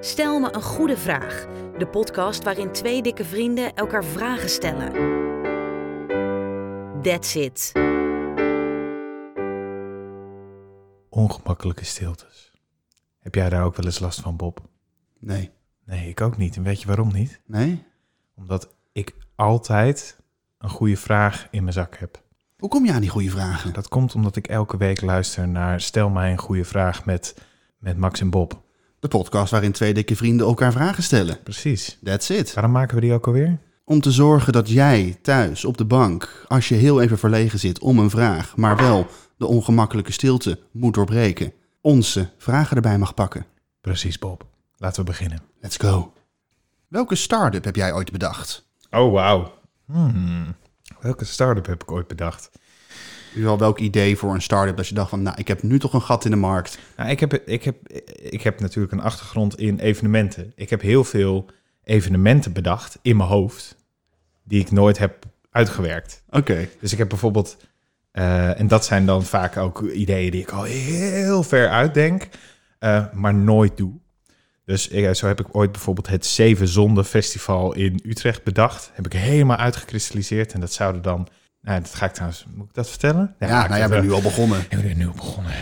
Stel me een goede vraag. De podcast waarin twee dikke vrienden elkaar vragen stellen. That's it. Ongemakkelijke stiltes. Heb jij daar ook wel eens last van, Bob? Nee. Nee, ik ook niet. En weet je waarom niet? Nee? Omdat ik altijd een goede vraag in mijn zak heb. Hoe kom je aan die goede vragen? Dat komt omdat ik elke week luister naar Stel mij een goede vraag met, met Max en Bob. De podcast waarin twee dikke vrienden elkaar vragen stellen. Precies. That's it. Waarom maken we die ook alweer? Om te zorgen dat jij thuis op de bank, als je heel even verlegen zit om een vraag, maar wel de ongemakkelijke stilte moet doorbreken, onze vragen erbij mag pakken. Precies, Bob. Laten we beginnen. Let's go. Welke start-up heb jij ooit bedacht? Oh, wauw. Hmm. Welke start-up heb ik ooit bedacht? U wel welk idee voor een start-up dat je dacht van, nou, ik heb nu toch een gat in de markt. Nou, ik, heb, ik, heb, ik heb natuurlijk een achtergrond in evenementen. Ik heb heel veel evenementen bedacht in mijn hoofd, die ik nooit heb uitgewerkt. Oké. Dus ik heb bijvoorbeeld, eh, en dat zijn dan vaak ook ideeën die ik al heel ver uitdenk, eh, maar nooit doe. Dus eh, zo heb ik ooit bijvoorbeeld het Zeven Zonden Festival in Utrecht bedacht. Heb ik helemaal uitgekristalliseerd. En dat zouden dan, nou, dat ga ik trouwens, moet ik dat vertellen? Ja, ik nou, jij heb, bent eh, nu al begonnen. ik ben nu begonnen.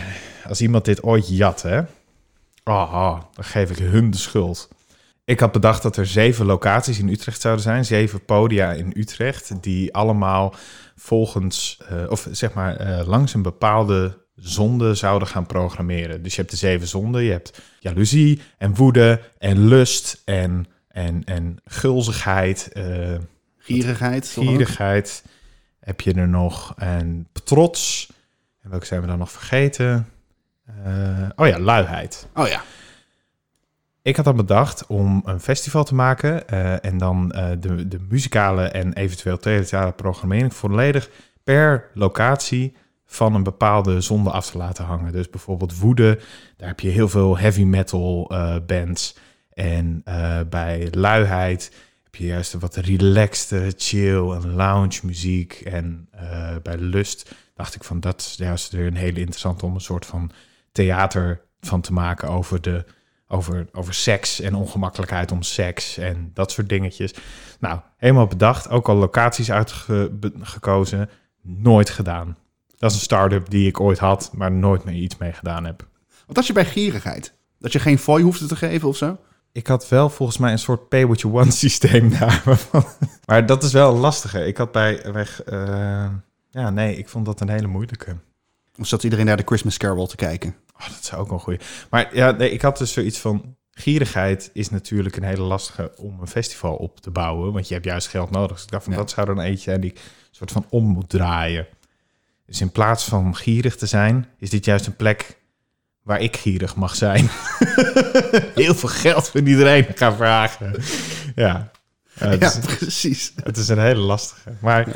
Als iemand dit ooit jat, hè? Aha, dan geef ik hun de schuld. Ik had bedacht dat er zeven locaties in Utrecht zouden zijn. Zeven podia in Utrecht. Die allemaal volgens, eh, of zeg maar, eh, langs een bepaalde zonde zouden gaan programmeren. Dus je hebt de zeven zonden. Je hebt jaloezie en woede en lust en, en, en gulzigheid. eh, Gierigheid. toch ook? Gierigheid heb je er nog. En trots. En welke zijn we dan nog vergeten? Eh, oh ja, luiheid. Oh ja. Ik had dan bedacht om een festival te maken. eh, en dan eh, de, de muzikale en eventueel theatrale programmering volledig per locatie van een bepaalde zonde af te laten hangen. Dus bijvoorbeeld Woede, daar heb je heel veel heavy metal eh, bands. En eh, bij Luiheid heb je juist een wat relaxte, chill en lounge muziek. En eh, bij Lust dacht ik van dat is juist weer een hele interessante om een soort van theater van te maken over, de, over, over seks en ongemakkelijkheid om seks en dat soort dingetjes. Nou, helemaal bedacht, ook al locaties uitgekozen, nooit gedaan. Dat is een start-up die ik ooit had, maar nooit meer iets mee gedaan heb. Wat als je bij gierigheid? Dat je geen fooi hoefde te geven of zo? Ik had wel volgens mij een soort pay what you want systeem daar. waarvan- Maar dat is wel lastiger. Ik had bij weg. eh, ja, nee, ik vond dat een hele moeilijke. Of zat iedereen naar de Christmas Carol te kijken? Oh, dat zou ook wel een goeie. Maar ja, nee, ik had dus zoiets van. Gierigheid is natuurlijk een hele lastige om een festival op te bouwen. Want je hebt juist geld nodig. Dus ik dacht van Ja. dat zou er dan eentje zijn die ik soort van om moet draaien. Dus in plaats van gierig te zijn, is dit juist een plek waar ik gierig mag zijn. Heel veel geld van iedereen gaan vragen. Ja. Ja, dus- het, Ja, Is, precies. het is een hele lastige. Maar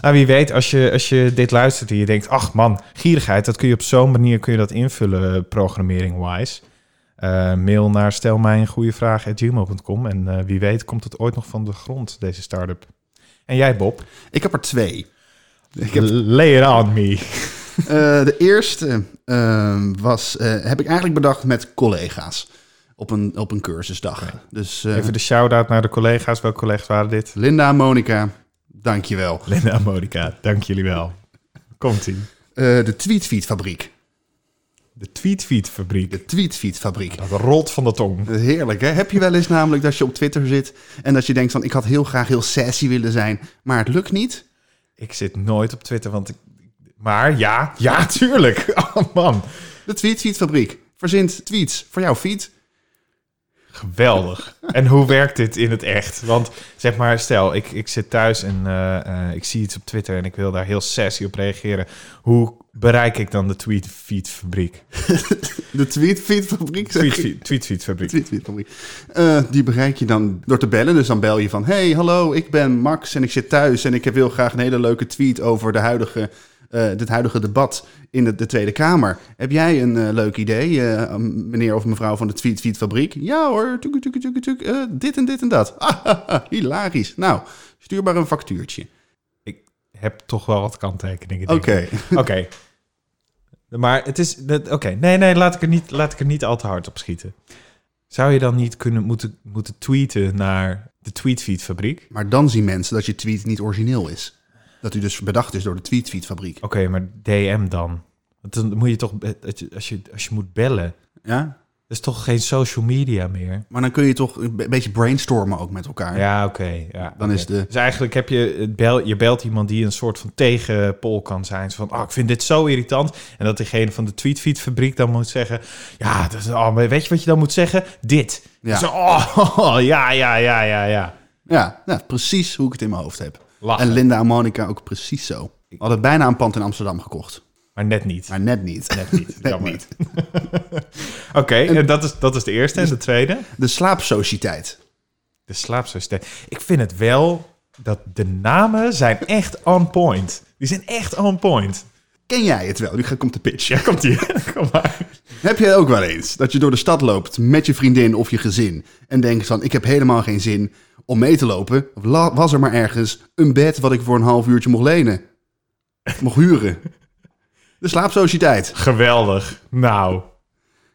nou, wie weet, als je, als je dit luistert en je denkt... ach man, gierigheid, dat kun je op zo'n manier kun je dat invullen, eh, programmering-wise. Eh, mail naar stel mij een goede vraag en eh, wie weet komt het ooit nog van de grond, deze start-up. En jij, Bob? Ik heb er twee. Ik heb, Lay it on me. eh, de eerste ehm, was, eh, heb ik eigenlijk bedacht met collega's op een, op een cursusdag. Dus eh, Even de shout-out naar de collega's. Welke collega's waren dit? Linda en Monica, dankjewel. Linda en Monica, dank jullie wel. Komt-ie. Eh de Tweetfeedfabriek. De Tweetfeed-fabriek. De Tweetfeedfabriek. Dat rolt van de tong. Heerlijk, hè? Heb je wel eens namelijk dat je op Twitter zit en dat je denkt van... ik had heel graag heel sassy willen zijn, maar het lukt niet? Ik zit nooit op Twitter, want ik... Maar ja, ja, tuurlijk. Oh man, De Tweetfeedfabriek verzint tweets voor jouw feed. geweldig. En hoe werkt dit in het echt? Want zeg maar, stel, ik, ik zit thuis en eh, eh, ik zie iets op Twitter... en ik wil daar heel sassy op reageren. Hoe bereik ik dan de tweetfeed-fabriek? De Tweetfeedfabriek, zeg ik. Tweetfeed- Tweetfeed-fabriek. Tweet, tweet, sorry. Eh, die bereik je dan door te bellen. Dus dan bel je van: Hey, hallo, ik ben Max en ik zit thuis. En ik heb heel graag een hele leuke tweet over de huidige, eh dit huidige debat in de, de Tweede Kamer. Heb jij een eh, leuk idee, eh, meneer of mevrouw van de Tweet Tweet Fabriek? Ja hoor, tuk, tuk, tuk, tuk, eh, dit en dit en dat. Hilarisch. Nou, stuur maar een factuurtje. Ik heb toch wel wat kanttekeningen. Oké. denk ik. Oké. Maar het is... dat- Oké, nee, nee, laat ik, er niet, laat ik er niet al te hard op schieten. Zou je dan niet kunnen moeten, moeten tweeten naar de Tweetfeed fabriek? Maar dan zien mensen dat je tweet niet origineel is. Dat u dus bedacht is door de tweetfeed-fabriek. Oké, maar DM dan. Want dan moet je toch, dat je- als je, als je moet bellen, Ja? dat is toch geen social media meer? Maar dan kun je toch een be- beetje brainstormen ook met elkaar. Ja, oké. ja, Dan is oké. de- Dus eigenlijk heb je, het bel, je belt iemand die een soort van tegenpol kan zijn. Zo van, oh, ik vind dit zo irritant. En dat degene van de tweetfeed fabriek dan moet zeggen, ja, dat is, oh, maar weet je wat je dan moet zeggen? Dit. Ja. Zo, oh, ja, ja, ja, ja, ja. Ja, nou, precies hoe ik het in mijn hoofd heb. Lachen. En Linda en Monica ook precies zo. We hadden bijna een pand in Amsterdam gekocht. Maar net niet. Maar net niet. Net niet, Net jammer. niet. Oké, en dat is, dat is de eerste. En de tweede? De slaapsociëteit. De slaapsociëteit. Ik vind het wel dat de namen zijn echt on point. Die zijn echt on point. Ken jij het wel? Nu ga- komt de pitch. Ja, komt ie. Kom maar. Heb jij ook wel eens dat je door de stad loopt met je vriendin of je gezin en denkt van ik heb helemaal geen zin om mee te lopen? Of la- was er maar ergens een bed wat ik voor een half uurtje mocht lenen? Of mocht huren? De slaapsociëteit. Geweldig. Nou.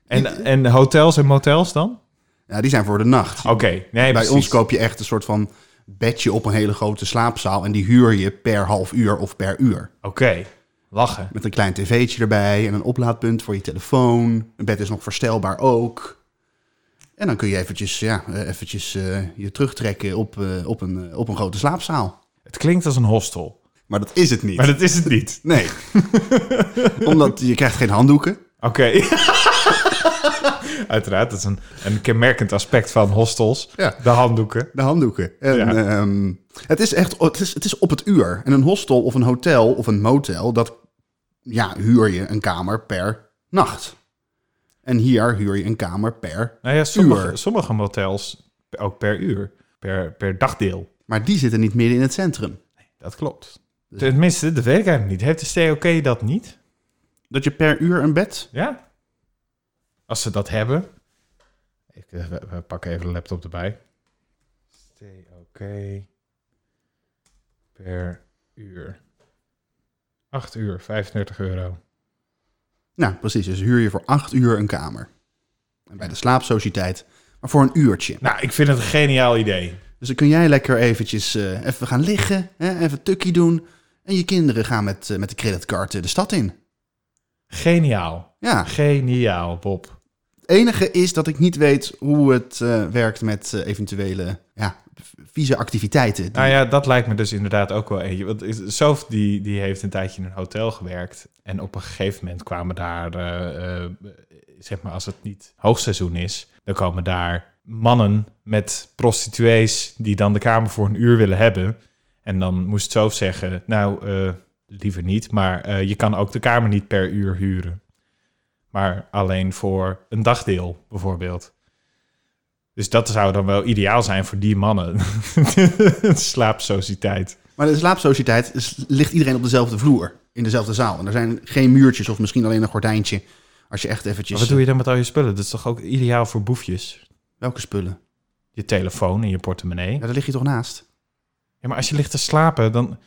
En, en hotels en motels dan? Ja, die zijn voor de nacht. Oké. Nee, Bij precies. ons koop je echt een soort van bedje op een hele grote slaapzaal en die huur je per half uur of per uur. Oké. Lachen. Met een klein tv'tje erbij en een oplaadpunt voor je telefoon. Een bed is nog verstelbaar ook. En dan kun je eventjes, ja, eh, eventjes eh, je terugtrekken op, eh, op, een, eh, op een grote slaapzaal. Het klinkt als een hostel. Maar dat is het niet. Maar dat is het niet. Nee. Omdat je krijgt geen handdoeken. Oké. Uiteraard, dat is een, een kenmerkend aspect van hostels. Ja. De handdoeken. De handdoeken. En, Ja. ehm, het is echt het is, het is op het uur. En een hostel of een hotel of een motel, dat ja, huur je een kamer per nacht. En hier huur je een kamer per. Nou ja, sommige, Uur. sommige motels ook per uur. Per, per dagdeel. Maar die zitten niet midden in het centrum. Dat klopt. Dus- Tenminste, dat weet ik eigenlijk niet. Heeft de COK dat niet? Dat je per uur een bed. Ja. Als ze dat hebben. Ik eh, we- we pakken even de laptop erbij. COK per uur. 8 uur, 35 euro. Nou, precies. Dus huur je voor acht uur een kamer. En bij de slaapsociëteit, maar voor een uurtje. Nou, ik vind het een geniaal idee. Dus dan kun jij lekker eventjes eh, even gaan liggen, hè, even tukkie doen. En je kinderen gaan met, eh, met de creditcard eh, de stad in. Geniaal. Ja. Geniaal, Bob. Het enige is dat ik niet weet hoe het eh, werkt met eh, eventuele ja, vieze activiteiten. Die- Nou ja, dat lijkt me dus inderdaad ook wel eentje. Want is- Sof die, die heeft een tijdje in een hotel gewerkt. En op een gegeven moment kwamen daar, eh, eh, zeg maar als het niet hoogseizoen is, dan komen daar mannen met prostituees die dan de kamer voor een uur willen hebben. En dan moest Sof zeggen, nou, eh, liever niet, maar eh, je kan ook de kamer niet per uur huren. Maar alleen voor een dagdeel, bijvoorbeeld. Dus dat zou dan wel ideaal zijn voor die mannen. Slaapsociëteit. Maar de slaapsociëteit is- ligt iedereen op dezelfde vloer, in dezelfde zaal. En er zijn geen muurtjes of misschien alleen een gordijntje. Als je echt eventjes... Maar wat doe je dan met al je spullen? Dat is toch ook ideaal voor boefjes? Welke spullen? Je telefoon en je portemonnee. Ja, daar lig je toch naast? Ja, maar als je ligt te slapen, dan...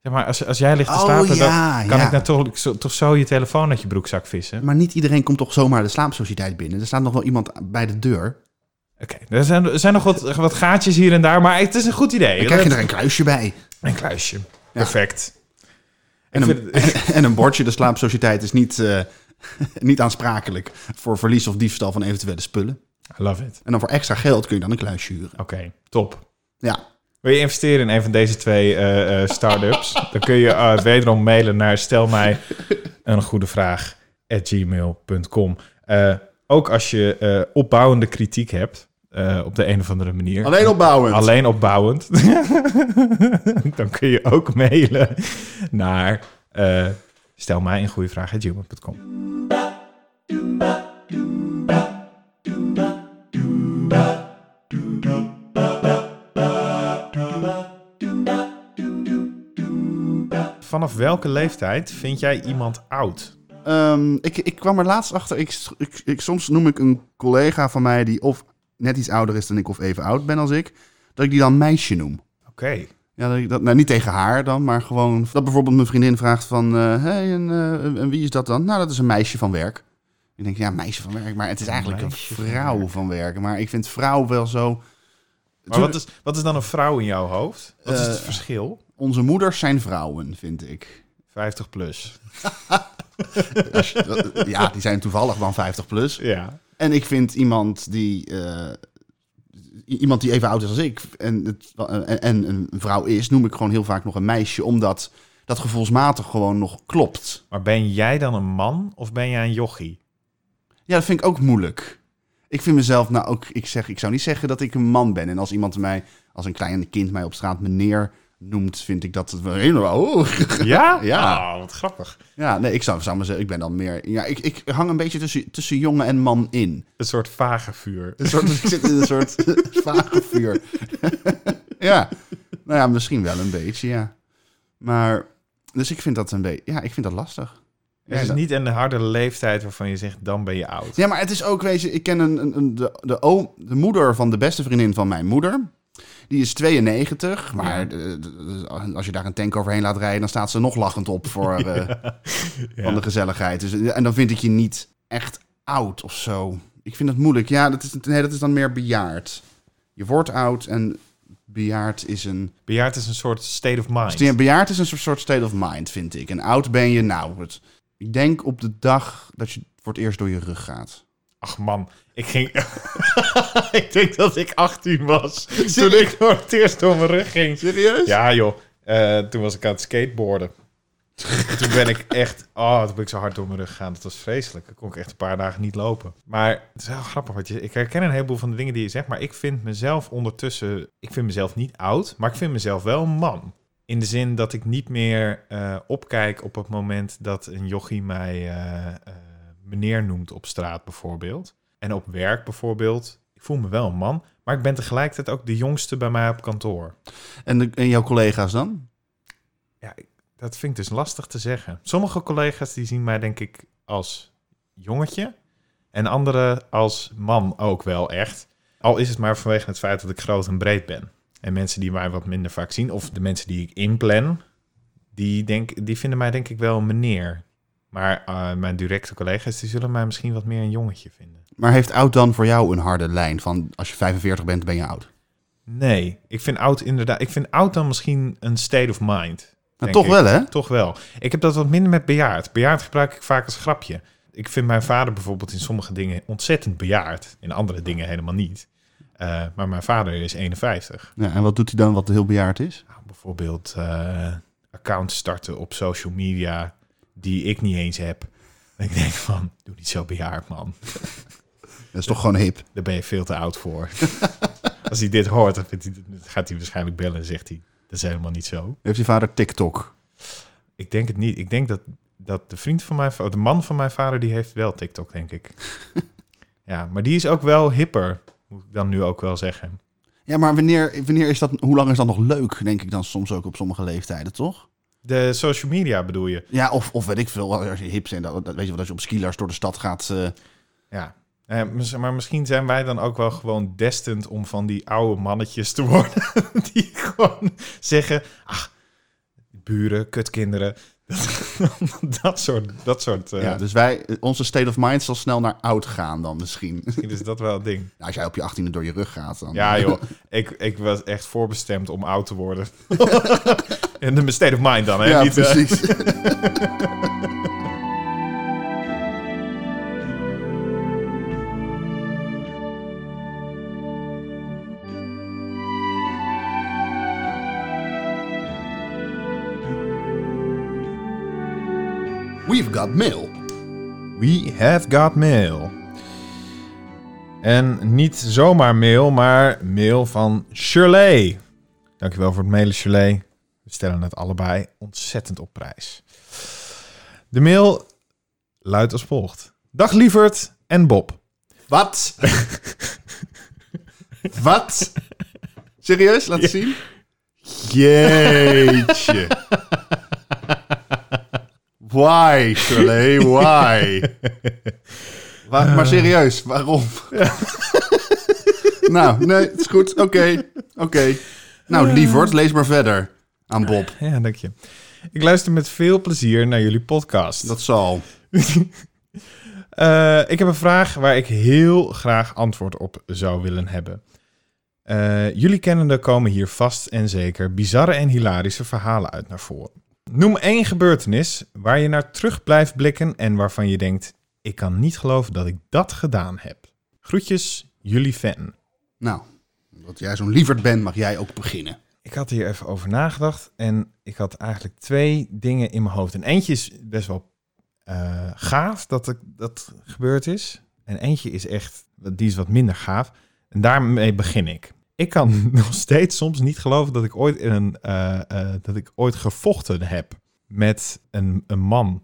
Ja, maar als, als jij ligt te slapen, ja, dan kan Oh, ja. ik natuurlijk zo- toch zo je telefoon uit je broekzak vissen. Maar niet iedereen komt toch zomaar de slaapsociëteit binnen. Er staat nog wel iemand bij de deur. Oké, er, zijn, er zijn nog wat, wat gaatjes hier en daar, maar het is een goed idee. Dan krijg je er een kluisje bij. Een kluisje. Perfect. En Ik een, vind- en een bordje. De slaapsociëteit is niet, eh, niet aansprakelijk voor verlies of diefstal van eventuele spullen. I love it. En dan voor extra geld kun je dan een kluisje huren. Oké, top. Ja, Wil je investeren in een van deze twee eh, eh, start-ups? Dan kun je eh, wederom mailen naar stel mij een goede vraag gmail.com. Eh, ook als je eh, opbouwende kritiek hebt, eh, op de een of andere manier. alleen opbouwen. Alleen opbouwend. Dan kun je ook mailen naar eh, stel mij een goede vraag gmail.com. Vanaf welke leeftijd vind jij iemand oud? Ehm, ik, ik kwam er laatst achter. Ik, ik, ik, soms noem ik een collega van mij die of net iets ouder is dan ik of even oud ben als ik, dat ik die dan meisje noem. Oké. Ja, dat ik dat, nou niet tegen haar dan, maar gewoon dat bijvoorbeeld mijn vriendin vraagt van, eh hey, en, eh, en wie is dat dan? Nou, dat is een meisje van werk. En Ik denk, ja, meisje van werk, maar het is eigenlijk een Meisje van vrouw werk. van werk. Maar ik vind vrouw wel zo... Maar wat is, wat is dan een vrouw in jouw hoofd? Wat is het Eh, verschil? Onze moeders zijn vrouwen, vind ik. 50 plus. Als je- dat- ja, die zijn toevallig dan 50 plus. Ja. En ik vind iemand die. eh, i- iemand die even oud is als ik. En, het, en, en een vrouw is, noem ik gewoon heel vaak nog een meisje. Omdat dat gevoelsmatig gewoon nog klopt. Maar ben jij dan een man of ben jij een jochie? Ja, dat vind ik ook moeilijk. Ik vind mezelf, nou ook, ik, zeg, ik zou niet zeggen dat ik een man ben. En als iemand mij, als een klein kind mij op straat meneer noemt, vind ik dat het wel helemaal. oh. Ja? Ja. Ah, wat grappig. Ja, nee, ik zou, zou maar zeggen, ik ben dan meer. Ja, ik, ik hang een beetje tussen, tussen jongen en man in. Een soort vage vuur. Een soort, ik zit in een soort vage vuur. ja, nou ja, misschien wel een beetje, ja. Maar, dus ik vind dat een beetje, ja, ik vind dat lastig. Het is Ja, niet een harde leeftijd waarvan je zegt, dan ben je oud. Ja, maar het is ook, weet je, ik ken een, een, een- de, de, oom, de moeder van de beste vriendin van mijn moeder. Die is 92, maar eh, de- de- als je daar een tank overheen laat rijden, dan staat ze nog lachend op voor eh, Ja. van de gezelligheid. Dus, eh, en dan vind ik je niet echt oud of zo. Ik vind dat moeilijk. Ja, dat is, nee, dat is dan meer bejaard. Je wordt oud en bejaard is een... Bejaard is een soort state of mind. Bejaard is een soort- soort state of mind, vind ik. En oud ben je nou. Het, ik denk op de dag dat je voor het eerst door je rug gaat. Ach man, ik ging... ik denk dat ik 18 was toen ik voor het eerst door mijn rug ging. Serieus? Ja. Ja joh, Eh, toen was ik aan het skateboarden. En toen ben ik echt... Oh, toen ben ik zo hard door mijn rug gegaan. Dat was vreselijk. Dan kon ik echt een paar dagen niet lopen. Maar het is wel grappig. Want je, ik herken een heleboel van de dingen die je zegt. Maar ik vind mezelf ondertussen... Ik vind mezelf niet oud. Maar ik vind mezelf wel een man. In de zin dat ik niet meer eh, opkijk op het moment dat een jochie mij eh, eh, meneer noemt op straat bijvoorbeeld. En op werk bijvoorbeeld. Ik voel me wel een man. Maar ik ben tegelijkertijd ook de jongste bij mij op kantoor. En, de- en jouw collega's dan? Ja, ik- dat vind ik dus lastig te zeggen. Sommige collega's die zien mij denk ik als jongetje. En andere als man ook wel echt. Al is het maar vanwege het feit dat ik groot en breed ben. En mensen die mij wat minder vaak zien, of de mensen die ik inplan, die, denk, die vinden mij denk ik wel een meneer. Maar eh, mijn directe collega's die zullen mij misschien wat meer een jongetje vinden. Maar heeft oud dan voor jou een harde lijn van als je 45 bent, ben je oud? Nou, Nee, ik vind oud inderdaad. Ik vind oud dan misschien een state of mind. Denk Nou, toch ik. wel, hè? Toch wel. Ik heb dat wat minder met bejaard. Bejaard gebruik ik vaak als grapje. Ik vind mijn vader bijvoorbeeld in sommige dingen ontzettend bejaard. In andere dingen helemaal niet. Eh, maar mijn vader is 51. Ja, en wat doet hij dan wat heel bejaard is? Nou, bijvoorbeeld eh, accounts starten op social media die ik niet eens heb. En ik denk van, doe niet zo bejaard man. Dat is toch gewoon hip. Daar ben je veel te oud voor. Als hij dit hoort, dan vindt hij, gaat hij waarschijnlijk bellen en zegt hij, dat is helemaal niet zo. Heeft je vader TikTok? Ik denk het niet. Ik denk dat, dat de vriend van mijn va- de man van mijn vader, die heeft wel TikTok, denk ik. ja, maar die is ook wel hipper, moet ik dan nu ook wel zeggen. Ja, maar wanneer, wanneer is dat, hoe lang is dat nog leuk, denk ik dan soms ook op sommige leeftijden, toch? De social media bedoel je? Ja, of, of weet ik veel, als je hip bent, dat, dat- weet je wel, als je op skilers door de stad gaat. eh, Ja. Eh, mis- maar misschien zijn wij dan ook wel gewoon destined om van die oude mannetjes te worden. die gewoon zeggen, ach, buren, kutkinderen. Dat, dat soort, dat soort eh, ja, dus wij, onze state of mind zal snel naar oud gaan dan misschien. Nou, misschien is dat wel het ding. als jij op je 18e door je rug gaat dan. Ja, joh. Ik, ik was echt voorbestemd om oud te worden. En de state of mind dan, hè? Ja, Niet, eh, precies. We've got mail. We have got mail. En niet zomaar mail, maar mail van Shirley. Dankjewel voor het mailen, Shirley. We stellen het allebei ontzettend op prijs. De mail luidt als volgt. Dag lieverd en Bob. Wat? Wat? Serieus? Laat zien. Jeetje. Why, Shirley? Why? Wa- maar serieus, waarom? nou, nee, het is goed. Oké, oké. Nou, lieverd, lees maar verder aan Bob. Ja, dank je. Ik luister met veel plezier naar jullie podcast. Dat zal. Eh, ik heb een vraag waar ik heel graag antwoord op zou willen hebben. Eh, jullie kennende komen hier vast en zeker bizarre en hilarische verhalen uit naar voren. Noem één gebeurtenis waar je naar terug blijft blikken en waarvan je denkt: ik kan niet geloven dat ik dat gedaan heb. Groetjes, jullie fan. Nou, omdat jij zo'n lieverd bent, mag jij ook beginnen. Ik had hier even over nagedacht en ik had eigenlijk twee dingen in mijn hoofd. En eentje is best wel eh, gaaf dat ik, dat gebeurd is. En eentje is echt, die is wat minder gaaf. En daarmee begin ik. Ik kan nog steeds soms niet geloven dat ik ooit, in een, eh, eh, dat ik ooit gevochten heb met een, een man.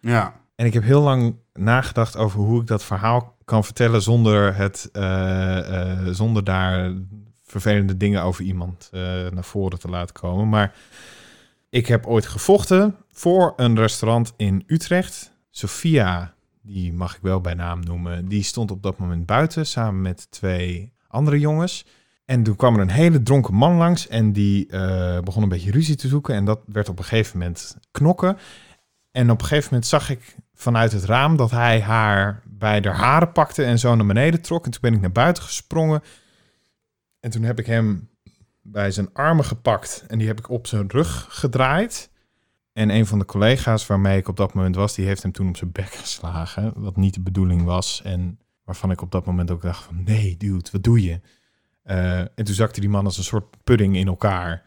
Ja. En ik heb heel lang nagedacht over hoe ik dat verhaal kan vertellen zonder, het, eh, eh, zonder daar vervelende dingen over iemand eh, naar voren te laten komen. Maar ik heb ooit gevochten voor een restaurant in Utrecht. Sophia, die mag ik wel bij naam noemen, die stond op dat moment buiten samen met twee andere jongens. En toen kwam er een hele dronken man langs en die eh, begon een beetje ruzie te zoeken. En dat werd op een gegeven moment knokken. En op een gegeven moment zag ik vanuit het raam dat hij haar bij de haren pakte en zo naar beneden trok. En toen ben ik naar buiten gesprongen. En toen heb ik hem bij zijn armen gepakt en die heb ik op zijn rug gedraaid. En een van de collega's waarmee ik op dat moment was, die heeft hem toen op zijn bek geslagen. Wat niet de bedoeling was. En waarvan ik op dat moment ook dacht van, nee dude, wat doe je? Eh, en toen zakte die man als een soort pudding in elkaar.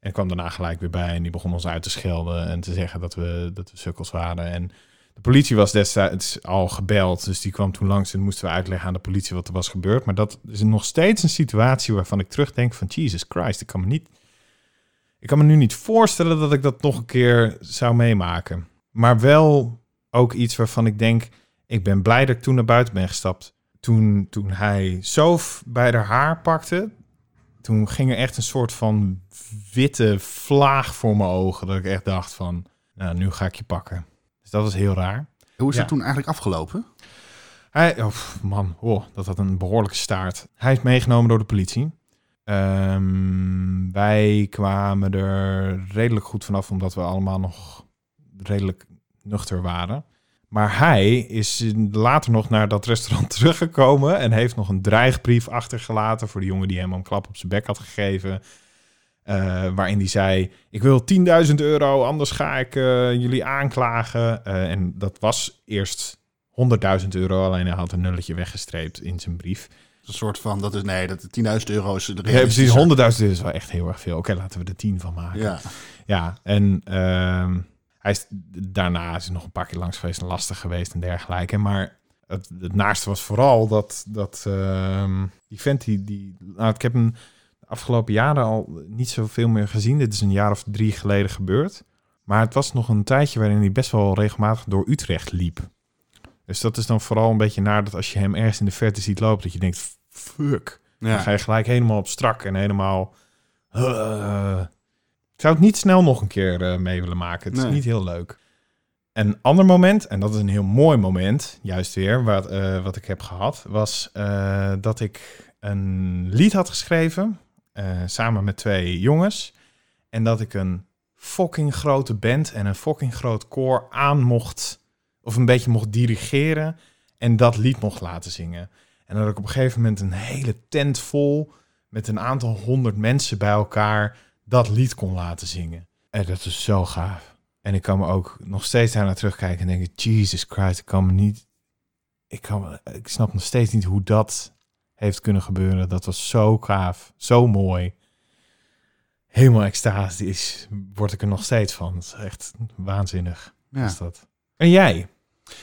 En kwam daarna gelijk weer bij en die begon ons uit te schelden en te zeggen dat we, dat we sukkels waren. En de politie was destijds al gebeld, dus die kwam toen langs en moesten we uitleggen aan de politie wat er was gebeurd. Maar dat is nog steeds een situatie waarvan ik terugdenk van Jesus Christ, ik kan me niet... Ik kan me nu niet voorstellen dat ik dat nog een keer zou meemaken. Maar wel ook iets waarvan ik denk, ik ben blij dat ik toen naar buiten ben gestapt. Toen, toen hij Sof bij haar haar pakte, toen ging er echt een soort van witte vlaag voor mijn ogen. Dat ik echt dacht van, nou, nu ga ik je pakken. Dus dat was heel raar. Hoe is Ja. het toen eigenlijk afgelopen? Hij, oh pff, man, oh, dat had een behoorlijke staart. Hij is meegenomen door de politie. Ehm, wij kwamen er redelijk goed vanaf, omdat we allemaal nog redelijk nuchter waren. Maar hij is later nog naar dat restaurant teruggekomen en heeft nog een dreigbrief achtergelaten voor de jongen die hem een klap op zijn bek had gegeven. Eh, waarin hij zei: Ik wil 10.000 euro, anders ga ik eh, jullie aanklagen. Eh, en dat was eerst 100.000 euro, alleen hij had een nulletje weggestreept in zijn brief. Een soort van, dat is, nee, dat 10.000 euro is de Ja, precies, 100.000 euro is wel echt heel erg veel. Oké, laten we er 10 van maken. Ja. Ja, en ehm, hij is, daarna is hij nog een paar keer langs geweest en lastig geweest en dergelijke. Maar het, het naaste was vooral dat, dat ehm, die vent, die, die, nou, ik heb hem de afgelopen jaren al niet zoveel meer gezien. Dit is een jaar of drie geleden gebeurd. Maar het was nog een tijdje waarin hij best wel regelmatig door Utrecht liep. Dus dat is dan vooral een beetje naar dat als je hem ergens in de verte ziet lopen, dat je denkt, fuck. Dan ga Ja. je gelijk helemaal op strak en helemaal... eh. ik zou het niet snel nog een keer eh, mee willen maken. Het Nee. is niet heel leuk. Een ander moment, en dat is een heel mooi moment, juist weer, wat, eh, wat ik heb gehad, was eh, dat ik een lied had geschreven, eh, samen met twee jongens. En dat ik een fucking grote band en een fucking groot koor aan mocht, of een beetje mocht dirigeren en dat lied mocht laten zingen. En dat ik op een gegeven moment een hele tent vol met een aantal honderd mensen bij elkaar dat lied kon laten zingen. En dat is zo gaaf. En ik kan me ook nog steeds daarnaar terugkijken en denken, Jesus Christ, ik kan me niet... Ik, kan, me- ik snap nog steeds niet hoe dat heeft kunnen gebeuren. Dat was zo gaaf, zo mooi. Helemaal extatisch word ik er nog steeds van. Het is echt waanzinnig, Ja. is dat. En jij?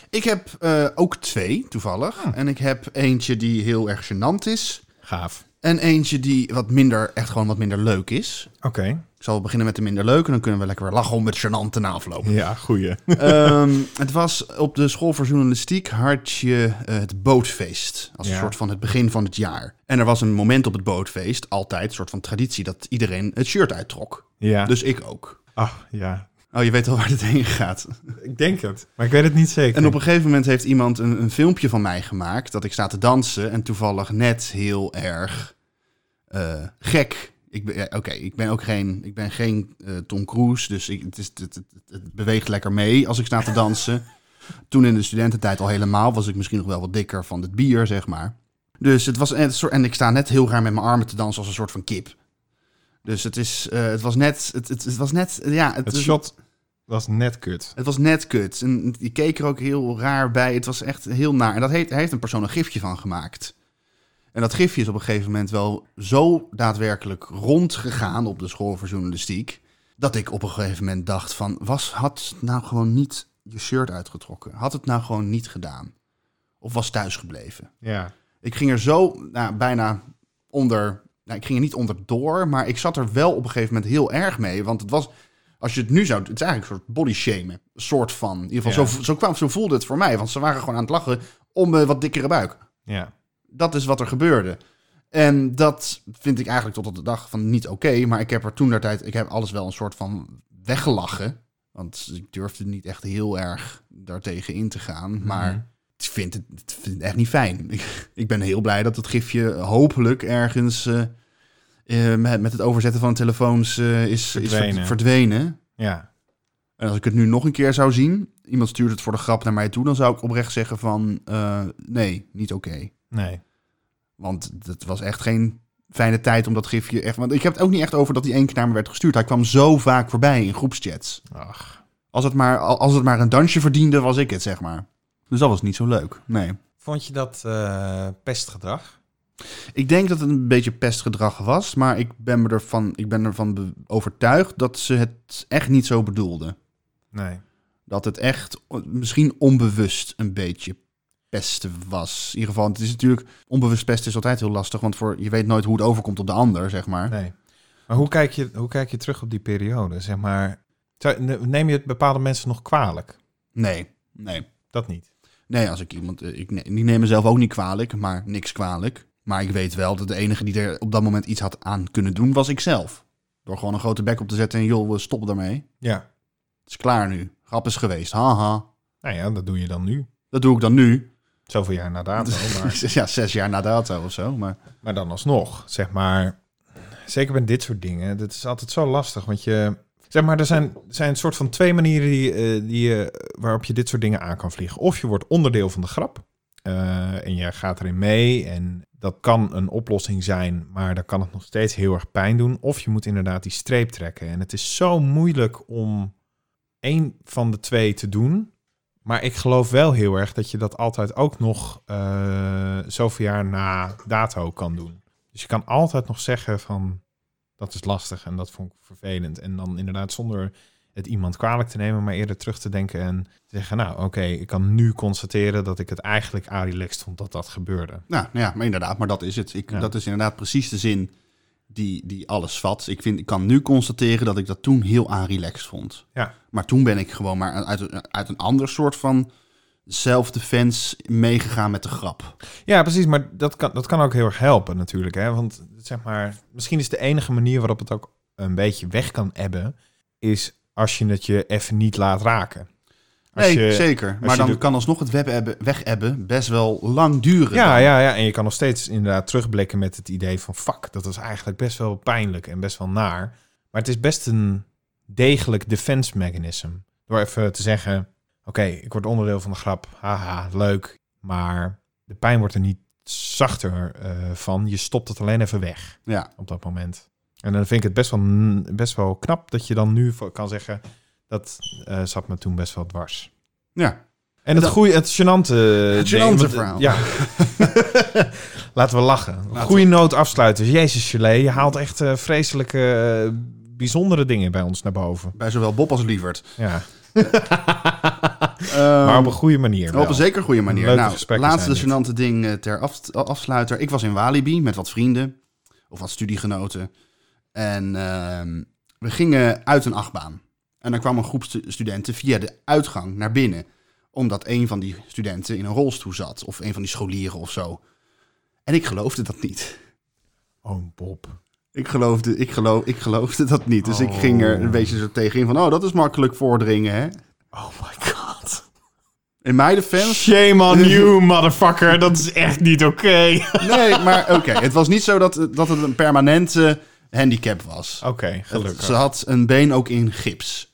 Ik heb eh, ook twee, toevallig. Ah. En ik heb eentje die heel erg gênant is. Gaaf. En eentje die wat minder, echt gewoon wat minder leuk is. Oké. Ik zal beginnen met de minder leuke, dan kunnen we lekker weer lachen om het gênante na afloop. Ja, goeie. Ehm, het was op de school voor journalistiek had je eh, het bootfeest. Als een Ja. soort van het begin van het jaar. En er was een moment op het bootfeest, altijd een soort van traditie, dat iedereen het shirt uittrok. Ja. Dus ik ook. Ach, ja. Oh, je weet al waar dit heen gaat. Ik denk het. Maar ik weet het niet zeker. En op een gegeven moment heeft iemand een, een filmpje van mij gemaakt dat ik sta te dansen en toevallig net heel erg eh, gek. Ik ben, ja, Oké, ik ben ook geen, ik ben geen eh, Tom Cruise, dus ik, het, is, het, het, het beweegt lekker mee als ik sta te dansen. Toen in de studententijd al helemaal was ik misschien nog wel wat dikker van het bier, zeg maar. Dus het was een soort, en ik sta net heel raar met mijn armen te dansen als een soort van kip. Dus het, is, eh, het was net, het, het, het was net, ja, Het is- shot was net kut. het was net kut. En die keek er ook heel raar bij. Het was echt heel naar. En dat heeft, daar heeft een persoon een gifje van gemaakt. En dat gifje is op een gegeven moment wel zo daadwerkelijk rondgegaan op de school voor journalistiek. Dat ik op een gegeven moment dacht van, was, had nou gewoon niet je shirt uitgetrokken? Had het nou gewoon niet gedaan? Of was thuisgebleven? Ja. Ik ging er zo nou, bijna onder. Nou, ik ging er niet onder door, maar ik zat er wel op een gegeven moment heel erg mee. Want het was, als je het nu zou. Het is eigenlijk een soort body shamen. Een soort van. In ieder geval, Ja. zo, zo, kwam, zo voelde het voor mij. Want ze waren gewoon aan het lachen om een wat dikkere buik. Ja. Dat is wat er gebeurde. En dat vind ik eigenlijk tot op de dag van niet oké. maar ik heb er toen der tijd. Ik heb alles wel een soort van weggelachen. Want ik durfde niet echt heel erg daartegen in te gaan. Maar ik vind het, ik vind het echt niet fijn. Ik, ik ben heel blij dat het gifje hopelijk ergens eh, eh, met, met het overzetten van telefoons eh, is, is Verdwenen. verd- verdwenen. Ja. En als ik het nu nog een keer zou zien, iemand stuurt het voor de grap naar mij toe, dan zou ik oprecht zeggen van eh, nee, niet oké. Nee. Want dat was echt geen fijne tijd om dat gifje echt. Want ik heb het ook niet echt over dat die één keer naar me werd gestuurd. Hij kwam zo vaak voorbij in groepschats. Ach. Als het maar, als het maar een dansje verdiende, was ik het, zeg maar. Dus dat was niet zo leuk. Nee. Vond je dat eh, pestgedrag? Ik denk dat het een beetje pestgedrag was, maar ik ben, me ervan, ik ben ervan be- overtuigd dat ze het echt niet zo bedoelde. Nee. Dat het echt o- misschien onbewust een beetje pesten was. In ieder geval, het is natuurlijk onbewust pesten is altijd heel lastig, want voor, je weet nooit hoe het overkomt op de ander, zeg maar. Nee. Maar hoe kijk je, hoe kijk je terug op die periode? Zeg maar, zou- ne- neem je het bepaalde mensen nog kwalijk? Nee, nee. Dat niet. Nee, als ik iemand, eh, ik, ne- ik neem mezelf ook niet kwalijk, maar niks kwalijk. Maar ik weet wel dat de enige die er op dat moment iets had aan kunnen doen, was ikzelf. Door gewoon een grote bek op te zetten en joh, we stoppen daarmee. Ja. Het is klaar nu. Grap is geweest. Haha. Nou ja, dat doe je dan nu. Dat doe ik dan nu. Zoveel jaar na dato. Maar, ja, zes jaar na dato of zo. Maar maar dan alsnog, zeg maar. Zeker bij dit soort dingen. Dat is altijd zo lastig. Want je. Zeg maar, er zijn, zijn soort van twee manieren die, eh, die, je- waarop je dit soort dingen aan kan vliegen. Of je wordt onderdeel van de grap. eh, en je gaat erin mee. En dat kan een oplossing zijn. Maar dan kan het nog steeds heel erg pijn doen. Of je moet inderdaad die streep trekken. En het is zo moeilijk om één van de twee te doen. Maar ik geloof wel heel erg dat je dat altijd ook nog eh zoveel jaar na dato kan doen. Dus je kan altijd nog zeggen van dat is lastig en dat vond ik vervelend. En dan inderdaad zonder het iemand kwalijk te nemen, maar eerder terug te denken en te zeggen, nou oké, ik kan nu constateren dat ik het eigenlijk relaxed vond dat dat gebeurde. nou, nou ja, maar inderdaad, maar dat is het. Ik, Ja. Dat is inderdaad precies de zin die, die alles vat. Ik, vind, ik kan nu constateren dat ik dat toen heel aanrelaxed vond. Ja. Maar toen ben ik gewoon maar uit, uit een ander soort van self-defense meegegaan met de grap. Ja, precies. Maar dat kan, dat kan ook heel erg helpen natuurlijk. Hè? Want zeg maar, misschien is de enige manier waarop het ook een beetje weg kan ebben... is als je het je even niet laat raken. Als nee, je, zeker. Maar je dan de- kan alsnog het web hebben, weg hebben best wel lang duren. Ja, ja, ja, en je kan nog steeds inderdaad terugblikken met het idee van... fuck, dat was eigenlijk best wel pijnlijk en best wel naar. Maar het is best een degelijk defense mechanism. Door even te zeggen, oké, ik word onderdeel van de grap. Haha, leuk. Maar de pijn wordt er niet zachter eh, van. Je stopt het alleen even weg. ja. op dat moment. En dan vind ik het best wel, best wel knap dat je dan nu voor- kan zeggen... dat eh, zat me toen best wel dwars. Ja. En het Dat- goede, het gênante... Het ding, gênante want, eh, verhaal. Ja. Laten we lachen. we- goede noot afsluiten. Jezus, Gelee, je haalt echt eh, vreselijke, eh, bijzondere dingen bij ons naar boven. Bij zowel Bob als Lievert. Ja. Ehm, maar op een goede manier wel. Op een zeker goede manier. Leuke nou, gesprekken laatste zijn gênante ding eh, ter af, afsluiter. Ik was in Walibi met wat vrienden of wat studiegenoten. En ehm, we gingen uit een achtbaan. En er kwam een groep stu- studenten via de uitgang naar binnen. Omdat een van die studenten in een rolstoel zat. Of een van die scholieren of zo. En ik geloofde dat niet. Oh, Bob. Ik geloofde, ik geloof, ik geloofde dat niet. Dus ik Oh. ging er een beetje zo tegenin van... Oh, dat is makkelijk voordringen, hè? Oh my god. In mijn defense Shame on you, motherfucker. Dat is echt niet oké. Oké, Nee, maar oké. Het was niet zo dat, dat het een permanente handicap was. gelukkig. Ze had een been ook in gips.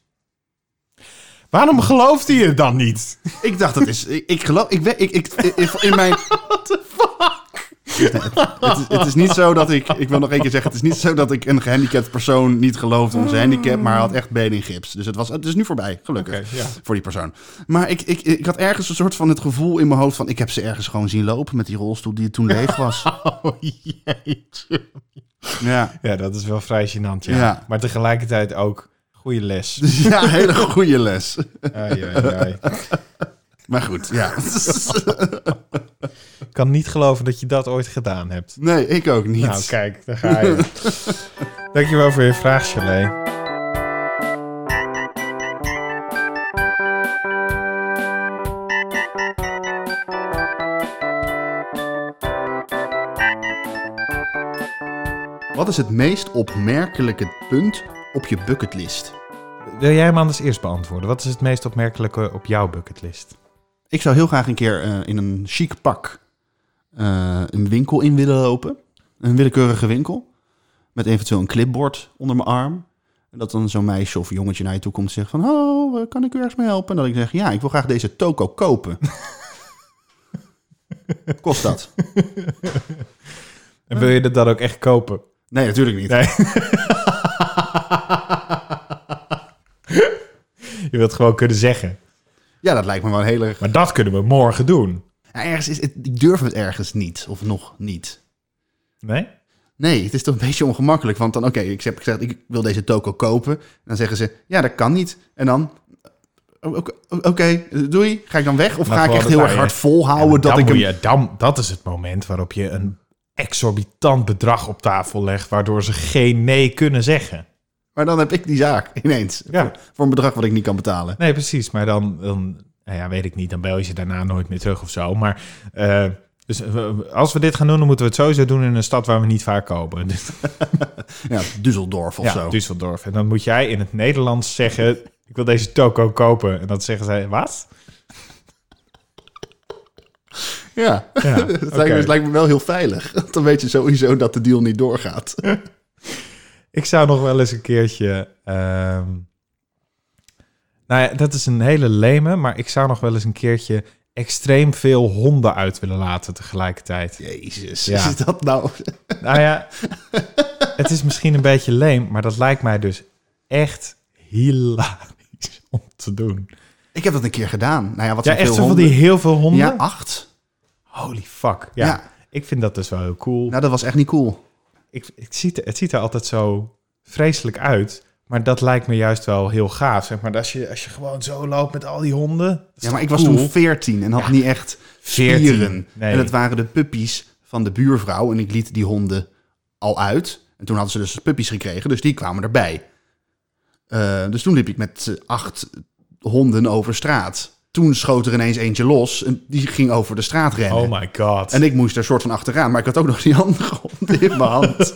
Waarom gelooft hij het dan niet? Ik dacht, dat is... Ik, ik geloof... Ik, weet- ik, ik, ik- in mijn... Het is, het is niet zo dat ik... Ik wil nog één keer zeggen. Het is niet zo dat ik een gehandicapt persoon niet geloofde om zijn Ah. handicap. Maar hij had echt benen in gips. Dus het, was, het is nu voorbij. Gelukkig. Oké, ja. Voor die persoon. Maar ik, ik, ik had ergens een soort van het gevoel in mijn hoofd van... Ik heb ze ergens gewoon zien lopen met die rolstoel die toen leeg was. Oh jeetje. Ja. Ja, dat is wel vrij gênant, ja. Ja. Maar tegelijkertijd ook goede les. Dus ja, hele goede les. Ai, ai, ai. Maar goed, ja. Ik kan niet geloven dat je dat ooit gedaan hebt. Nee, ik ook niet. Nou, kijk, daar ga je. Dankjewel voor je vraag, Chalet. Wat is het meest opmerkelijke punt op je bucketlist? Wil jij hem anders eerst beantwoorden? Wat is het meest opmerkelijke op jouw bucketlist? Ik zou heel graag een keer eh, in een chic pak eh, een winkel in willen lopen. Een willekeurige winkel. Met eventueel een clipboard onder mijn arm. En dat dan zo'n meisje of jongetje naar je toe komt en zegt van... Hallo, eh, kan ik u ergens mee helpen? En dat ik zeg, ja, ik wil graag deze toko kopen. Kost dat? En wil je dat dan ook echt kopen? Nee, natuurlijk niet. Nee. Je wilt gewoon kunnen zeggen. Ja, dat lijkt me wel heel erg Maar dat kunnen we morgen doen. Ja, Nou, ergens is het, ik durf het ergens niet, of nog niet. Nee? Nee, het is toch een beetje ongemakkelijk. Want dan, oké, ik heb gezegd, ik wil deze toko kopen. En dan zeggen ze, ja, dat kan niet. En dan, o- oké, oh, oké, doei. Ga ik dan weg? Of Maar ga ik gewoon echt dat heel wij- erg hard volhouden Ja, maar dat dan ik hem... moet je- dan, dat is het moment waarop je een exorbitant bedrag op tafel legt... waardoor ze geen nee kunnen zeggen. Maar dan heb ik die zaak ineens. Ja. Voor, voor een bedrag wat ik niet kan betalen. Nee, precies. Maar dan, dan nou ja, weet ik niet, dan bel je ze daarna nooit meer terug of zo. Maar eh, dus, eh, als we dit gaan doen, dan moeten we het sowieso doen in een stad waar we niet vaak komen. Dus, Ja, Düsseldorf ja, of zo. Düsseldorf. En dan moet jij in het Nederlands zeggen, ik wil deze toko kopen. En dan zeggen zij, wat? Ja, Ja, dat oké. lijkt, me, dus het lijkt me wel heel veilig. Want dan weet je sowieso dat de deal niet doorgaat. Ik zou nog wel eens een keertje... ehm, nou ja, dat is een hele leme, maar ik zou nog wel eens een keertje extreem veel honden uit willen laten tegelijkertijd. Jezus, Ja. is dat nou... Nou ja, het is misschien een beetje leem, maar dat lijkt mij dus echt hilarisch om te doen. Ik heb dat een keer gedaan. Nou ja, wat Ja, zijn echt veel zo van honden. die heel veel honden. Ja, acht. Holy fuck. Ja, Ja. ik vind dat dus wel heel cool. Nou, dat was echt niet cool. Ik, ik ziet, het ziet er altijd zo vreselijk uit, maar dat lijkt me juist wel heel gaaf. Zeg maar als je, als je gewoon zo loopt met al die honden. dat is Ja, maar toch ik was cool? toen 14 en had niet echt 14, spieren. nee. En dat waren de puppies van de buurvrouw. En ik liet die honden al uit. En toen hadden ze dus puppies gekregen, dus die kwamen erbij. Eh, dus toen liep ik met eh, acht honden over straat. Toen schoot er ineens eentje los en die ging over de straat rennen. Oh my god. en ik moest er soort van achteraan, maar ik had ook nog die andere hond in mijn hand.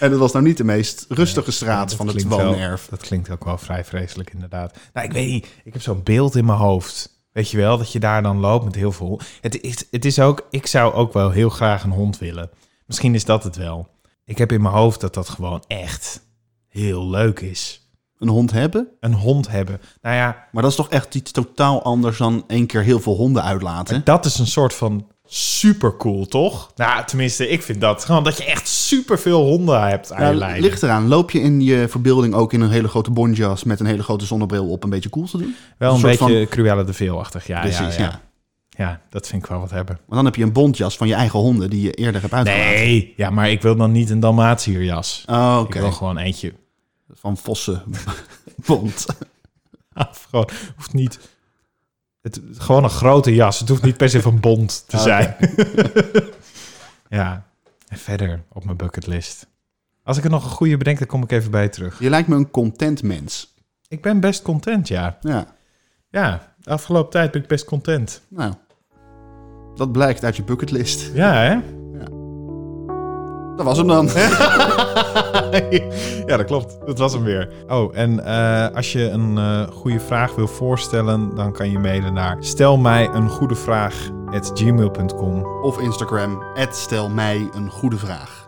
en dat was nou niet de meest rustige straat Dat van het klinkt wel- woonerf. dat klinkt ook wel vrij vreselijk, inderdaad. Nou, ik weet niet. Ik heb zo'n beeld in mijn hoofd. Weet je wel, dat je daar dan loopt met heel veel. Het is, het is ook, ik zou ook wel heel graag een hond willen. Misschien is dat het wel. Ik heb in mijn hoofd dat dat gewoon echt heel leuk is. Een hond hebben? Een hond hebben. Nou ja, Maar dat is toch echt iets totaal anders dan één keer heel veel honden uitlaten? dat is een soort van supercool, toch? Nou, tenminste, ik vind dat gewoon dat je echt superveel honden hebt aan Ja, je lijf. Nou, ligt eraan. Loop je in je verbeelding ook in een hele grote bonjas met een hele grote zonnebril op een beetje cool te doen? Wel een soort van- beetje Cruella de Veelachtig. Ja, Precies, ja. ja, ja. ja, dat vind ik wel wat hebben. Maar dan heb je een bontjas van je eigen honden die je eerder hebt uitgelaten. Nee, ja, maar ik wil dan niet een Dalmatierjas. Oh, Ik oké. wil gewoon eentje. Van vossen bont. Af, Ah, gewoon, hoeft niet. Het, gewoon een grote jas. Het hoeft niet per se van bond te Ah, zijn. ja. En verder op mijn bucketlist. Als ik er nog een goede bedenk, dan kom ik even bij je terug. Je lijkt me een content mens. Ik ben best content, ja. Ja, Ja, de afgelopen tijd ben ik best content. nou. Dat blijkt uit je bucketlist. Ja, hè? Dat was hem dan. ja, dat klopt. Dat was hem weer. Oh, en eh, als je een eh, goede vraag wil voorstellen, dan kan je mailen naar stel mij een goede vraag at gmail.com. Of Instagram. Het stel mij een goede vraag.